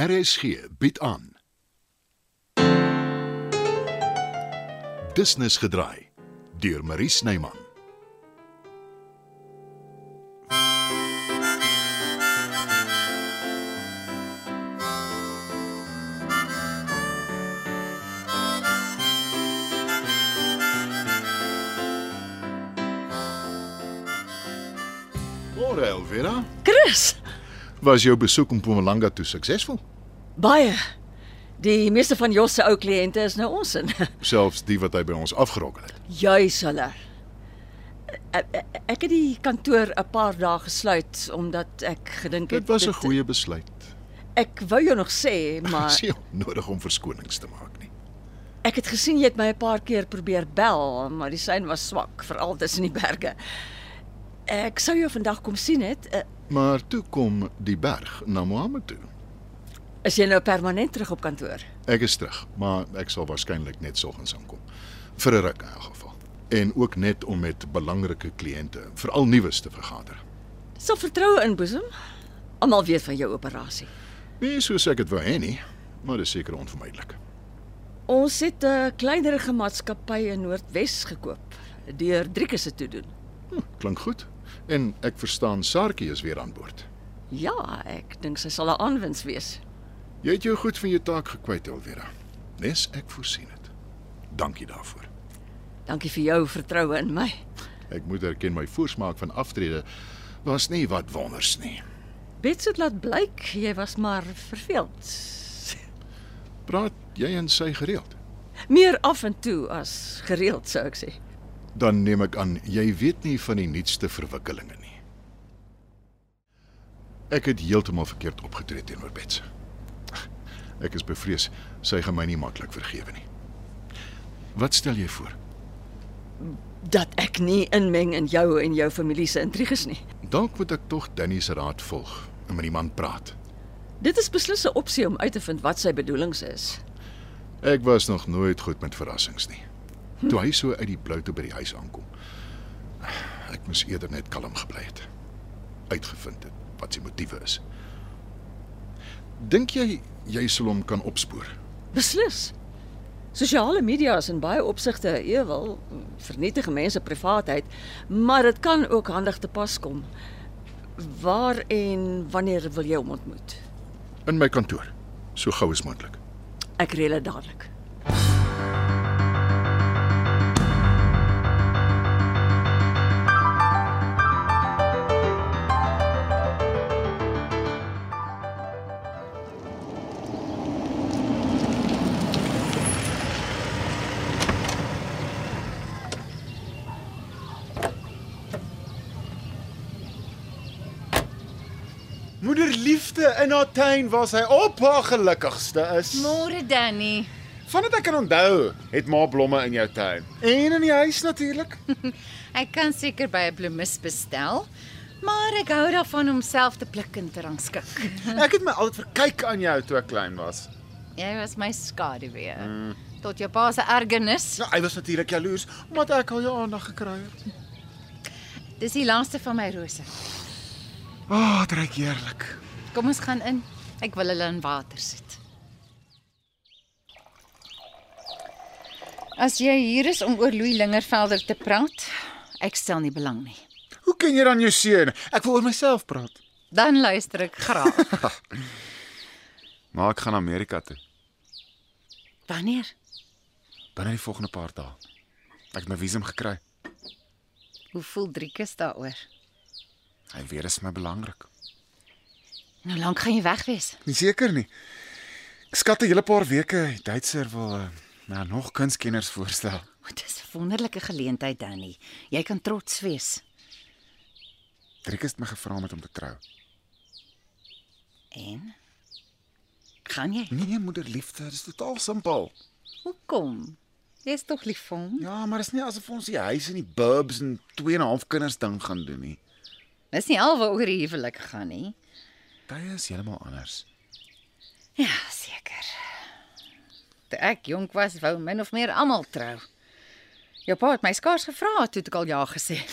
RSG bied aan. Business gedraai deur Marie Snyman. Môre Elvira, Chris, was jou besoek in Mpumalanga toe suksesvol? baie. Die meeste van Jos se ou kliënte is nou ons in. Selfs die wat hy by ons afgerokkel het. Juis hulle. Ek- ek- Ek het die kantoor 'n paar dae gesluit omdat ek gedink het Dit was 'n dit- goeie besluit. Ek wou jou nog sê, maar Dis nie nodig om verskonings te maak nie. ek het gesien jy het my 'n paar keer probeer bel, maar die sein was swak, veral tussen die berge. Ek sou jou vandag kom sien het. Eh, Maar toe kom die berg na Mohammed toe. Is jy nou permanent terug op kantoor? Ek is terug, maar ek sal waarskynlik net soggens aankom. Vir 'n ruk in elk geval. En ook net om met belangrike kliënte, veral nuus te vergader. Sal vertroue inboesem. Almal weet van jou operasie. Nie soos ek dit wou hê nie, maar dis seker onvermydelik. Ons het 'n kleinerige maatskappy in Noordwes gekoop deur Driekus se toe doen. Hm, klink goed. En ek verstaan Saartjie is weer aan boord. Ja, ek dink sy sal 'n aanwins wees. Jy het jou goed van jou taak gekwyt, Elvira. Nes ek voorsien het. Dankie daarvoor. Dankie vir jou vertroue in my. Ek moet erken my voorsmaak van aftrede was nie wat wonders nie. Bets het laat blyk jy was maar verveeld. Praat jy en sy gereeld? Meer af en toe as gereeld sou ek sê. Dan neem ek aan jy weet nie van die nuutste verwikkelinge nie. Ek het heeltemal verkeerd opgetree teenoor Bets. Ek is bevrees sy gaan my nie maklik vergewe nie. Wat stel jy voor? Dat ek nie inmeng in jou en jou familie se intriges nie. Dalk moet ek tog Danny se raad volg en met die man praat. Dit is beslis 'n opsie om uit te vind wat sy bedoelings is. Ek was nog nooit goed met verrassings nie. Toe hy so uit die blou toe by die huis aankom. Ek moes eerder net kalm gebly het. Uitgevind het wat sy motiewe is. Dink jy jy sal hom kan opspoor? Beslis. Sosiale media is in baie opsigte 'n ewel, vernietig mense privaatheid, maar dit kan ook handig te pas kom. Waar en wanneer wil jy hom ontmoet? In my kantoor, so gou as moontlik. Ek reël dit dadelik. Moederliefde in haar tuin waar sy op haar gelukkigste is. Môre Danny. Vandat ek kan onthou, het ma blomme in jou tuin. En in die huis natuurlik. Ek kan seker by 'n bloemis bestel, maar ek hou daarvan om self te pluk en te rangskik. Ek het my altyd verkyk aan jou toe ek klein was. Jy was my skaduwee. Mm. Tot jou pa se ergernis. Nou, hy was natuurlik jaloers omdat ek al jou aandag gekry het. Dis die laaste van my rose. Ah, oh, dit reuk heerlik. Kom ons gaan in. Ek wil hulle in water sit. As jy hier is om oor Louis Lingervelder te praat, ek stel nie belang nie. Hoe ken jy dan jou seun? Ek wil oor myself praat. Dan luister ek graag. Maar ek gaan Amerika toe Wanneer? binne die volgende paar dae. Ek het my visum gekry. Hoe voel Driekus daaroor? Hy weet dit is my belangrik. En hoe Nou lank gaan jy weg wees? Nie seker nie. Ek skat 'n hele paar weke. Die Duitser wil eh, nou nog kunstkenners voorstel. Dit is 'n wonderlike geleentheid, Danny. Jy kan trots wees. Driek het my gevra om met hom te trou. En gaan jy? Nee, moederliefde, dit is totaal simpel. Hoekom? Jy's tog lief vir hom. Ja, maar dit is nie asof ons die huis in die burbs en 2 en 'n half kinders ding gaan doen nie. Dis nie al waaroor die huwelik gaan nie. Dit is heeltemal anders. Ja, seker. Toe ek jonk was, wou min of meer almal trou. Jou pa het my skaars gevra toe ek al ja gesê.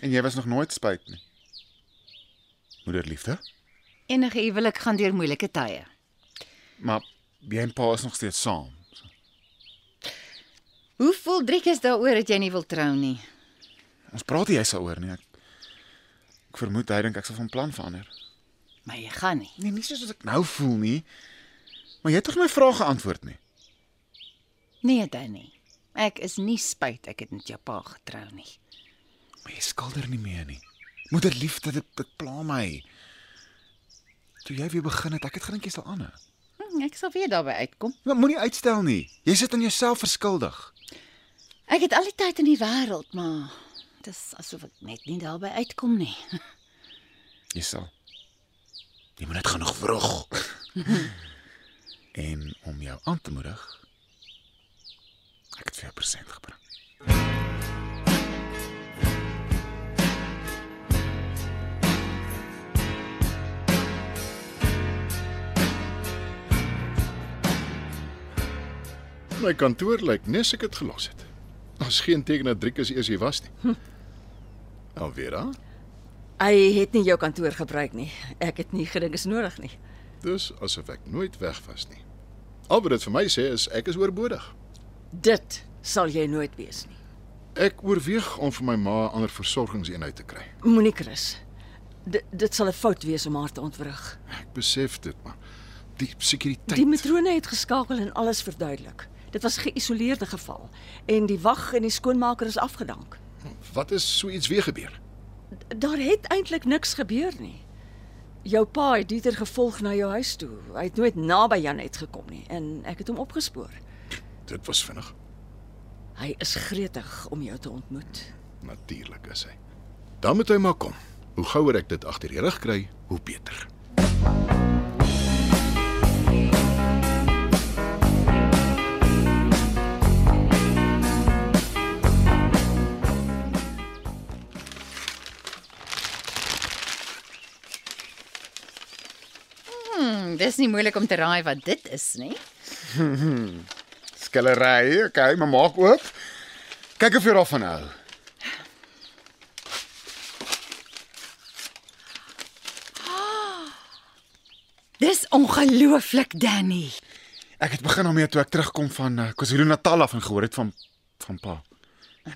En jy was nog nooit spyt nie. Moederliefde? Enige huwelik gaan deur moeilike tye. Maar jy en pa is nog steeds saam. Hoeveel drietjies daaroor dat jy nie wil trou nie? Ons praat nie juis daaroor nie. Ek, ek vermoed hy dink ek sal van plan verander. Maar jy gaan nie. Nee, nie soos wat ek nou voel nie. Maar jy het tog my vraag geantwoord nie. Nee, Danny. Ek is nie spyt ek het met jou pa getrou nie. Maar jy skulder nie meer nie. Moederliefde, dit, dit pla my. Toe jy weer begin het, ek het gedink jy sal aanhou. Hm, ek sal weer daarby uitkom. Maar Ja, moenie uitstel nie. Jy sit aan jouself verskuldig. Ek het al die tyd in die wêreld, maar dis asof ek net nie daarby uitkom nie. Jy sal. Jy moet net genoeg vrug. en om jou aan te moedig, ek het 4% gebring. My kantoor lyk nes ek dit gelos het. Daar's geen teken dat Driekus eers hier was nie. Alvera, Hy het nie jou kantoor gebruik nie. Ek het nie gedink is nodig nie. dis asof ek nooit weg was nie. Al wat dit vir my sê is ek is oorbodig. Dit sal jy nooit wees nie. Ek oorweeg om vir my ma 'n ander versorgingseenheid te kry. Moenie Chris. Dit dit sal 'n fout wees om haar te ontwrig. Ek besef dit, maar die sekuriteit. Die matrone het geskakel en alles verduidelik. Dit was 'n geïsoleerde geval en die wag en die skoonmaker is afgedank. Wat is so iets weer gebeur? Daar het eintlik niks gebeur nie. Jou pa het Dieter gevolg na jou huis toe. Hy het nooit naby Janet gekom nie en ek het hom opgespoor. Dit was vinnig. Hy is gretig om jou te ontmoet. Natuurlik is hy. Dan moet hy maar kom. Hoe gouer ek dit agter die rug kry, hoe beter. Hm, dis nie moeilik om te raai wat dit is nie. Skillery, okay, maar maak oop. Kyk of jy daarvan hou. Dis ongelooflik, Danny. Ek het begin daarmee toe ek terugkom van eh, KwaZulu-Natal af en gehoor het van van pa.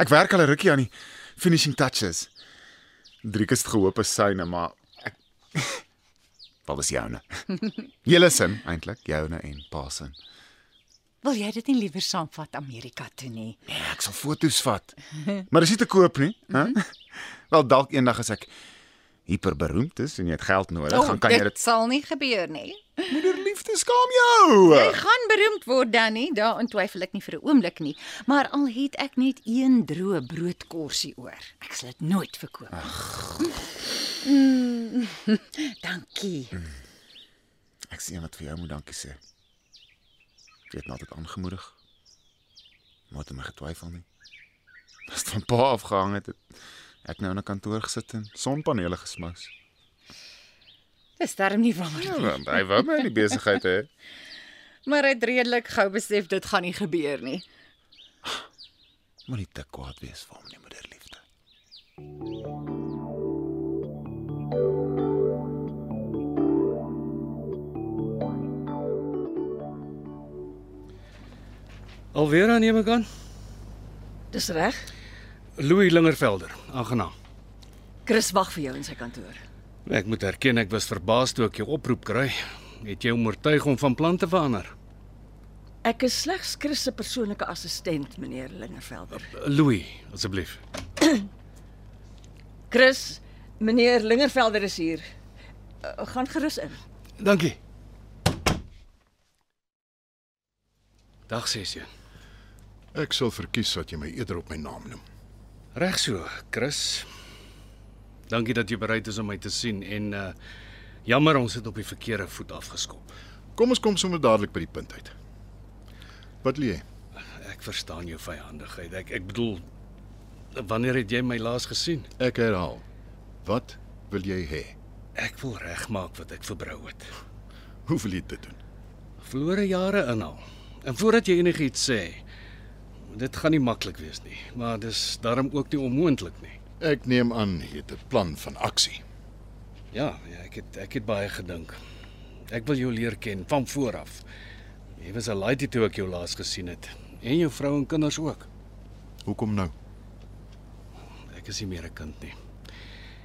Ek werk al 'n rukkie aan die finishing touches. Driekus het gehoop is syne, maar ek wat was joune? Julle sin eintlik, joune en pa se. Wil jy dit nie liewer saamvat Amerika toe nie? Nee, ek sal foto's vat. Maar dis nie te koop nie, hè? Wel dalk eendag as ek hiperberoemd is en jy het geld nodig, oh, dan kan jy dit dit sal nie gebeur nie. moederliefde skaam jou. Jy gaan beroemd word Danny, daaraan twyfel ek nie vir 'n oomblik nie, maar al het ek net een droë broodkorsie oor, ek sal dit nooit verkoop. Ag. Mm, dankie. Ek sien wat vir jou moet dankie sê. Jy het my altyd aangemoedig. Maar het my getwyfel nie. As dit van pa afgehang het, het ek nou in 'n kantoor gesit en sonpanele gesmous. Dis darm nie waar nie. Ja, want hy wou my in die besigheid hê. Maar hy het redelik gou besef dit gaan nie gebeur nie. Moenie te kwaad wees vir hom nie, moederliefde. Alweer aan neem ek aan. Dis reg. Louis Lingervelder, aangenaam. Chris wag vir jou in sy kantoor. Ek moet erken ek was verbaas toe ek jou oproep kry. Het jy hom oortuig om van plan te verander? Ek is slegs Chris se persoonlike assistent, meneer Lingervelder. Louis, asseblief. Chris, meneer Lingervelder is hier. Uh, gaan gerus in. Dankie. Dag Sesie. Ek sal verkies dat jy my eerder op my naam noem. Reg so, Chris. Dankie dat jy bereid is om my te sien en uh jammer ons het op die verkeerde voet afgeskop. Kom ons kom sommer dadelik by die punt uit. Wat lê jy? Ek verstaan jou vyandigheid. Ek ek bedoel wanneer het jy my laas gesien? Ek herhaal. Wat wil jy hê? Ek wil regmaak wat ek verbrou het. Hoe wil jy dit doen? Verlore jare inhaal. En voordat jy enigiets sê, dit gaan nie maklik wees nie, maar dis daarom ook nie onmoontlik nie. Ek neem aan jy het 'n plan van aksie. Ja, ja, ek het ek het baie gedink. Ek wil jou leer ken van voor af. Jy was 'n laaitie toe ek jou laas gesien het en jou vrou en kinders ook. Hoekom nou? Ek is nie meer 'n kind nie.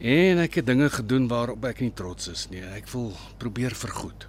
En ek het dinge gedoen waarop ek nie trots is nie. Ek wil probeer vergoed.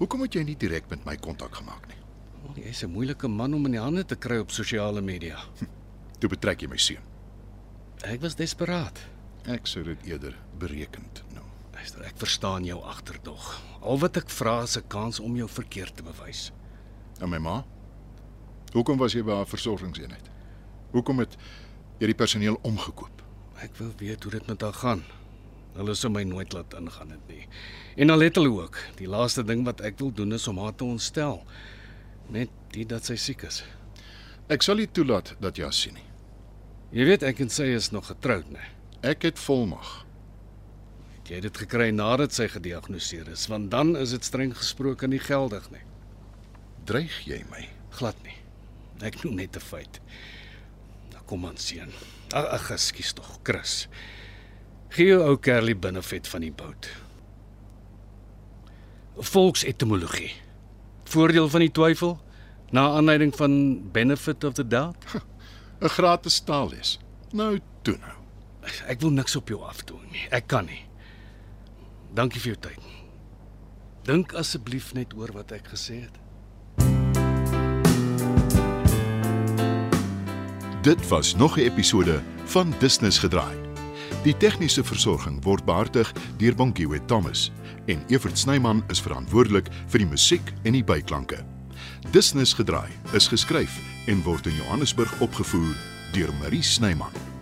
Hoekom het jy nie direk met my kontak gemaak nie? Jy's 'n moeilike man om in die hande te kry op sosiale media. Toe betrek jy my seun. Ek was desperaat. Ek sou dit eerder berekend nou. noem. Luister, ek verstaan jou agterdog. Al wat ek vra is 'n kans om jou verkeerd te bewys. En my ma? Hoekom was jy by haar versorgingseenheid? Hoekom het jy die personeel omgekoop? Ek wil weet hoe dit met haar gaan. Hulle sou my nooit laat ingaan het nie. En al het hulle ook. Die laaste ding wat ek wil doen is om haar te ontstel. Net dit dat sy siek is. Ek sal nie toelaat dat jy haar sien nie. Jy weet ek en sy is nog getroud, né? Ek het volmag. Het Jy het dit gekry nadat sy gediagnoseer is, want dan is dit streng gesproke nie geldig nie. Dreig jy my? Glad nie. Ek noem net 'n feit. Nou kom aan seun. Ag, ag, ekskuus tog, Chris. Gee jou ou Kerlie binnevet van die bout. Volksetimologie. Voordeel van die twyfel na aanleiding van benefit of the doubt. 'n Gratis taal is. Nou toe nou. Ek wil niks op jou afdoen nie. Ek kan nie. Dankie vir jou tyd. Dink asseblief net oor wat ek gesê het. Dit was nog 'n episode van Business Gedraai. Die tegniese versorging word behartig deur Bongiwet Thomas en Evert Snyman is verantwoordelik vir die musiek en die byklanke. Business Gedraai is geskryf en word in Johannesburg opgevoer deur Marie Snyman.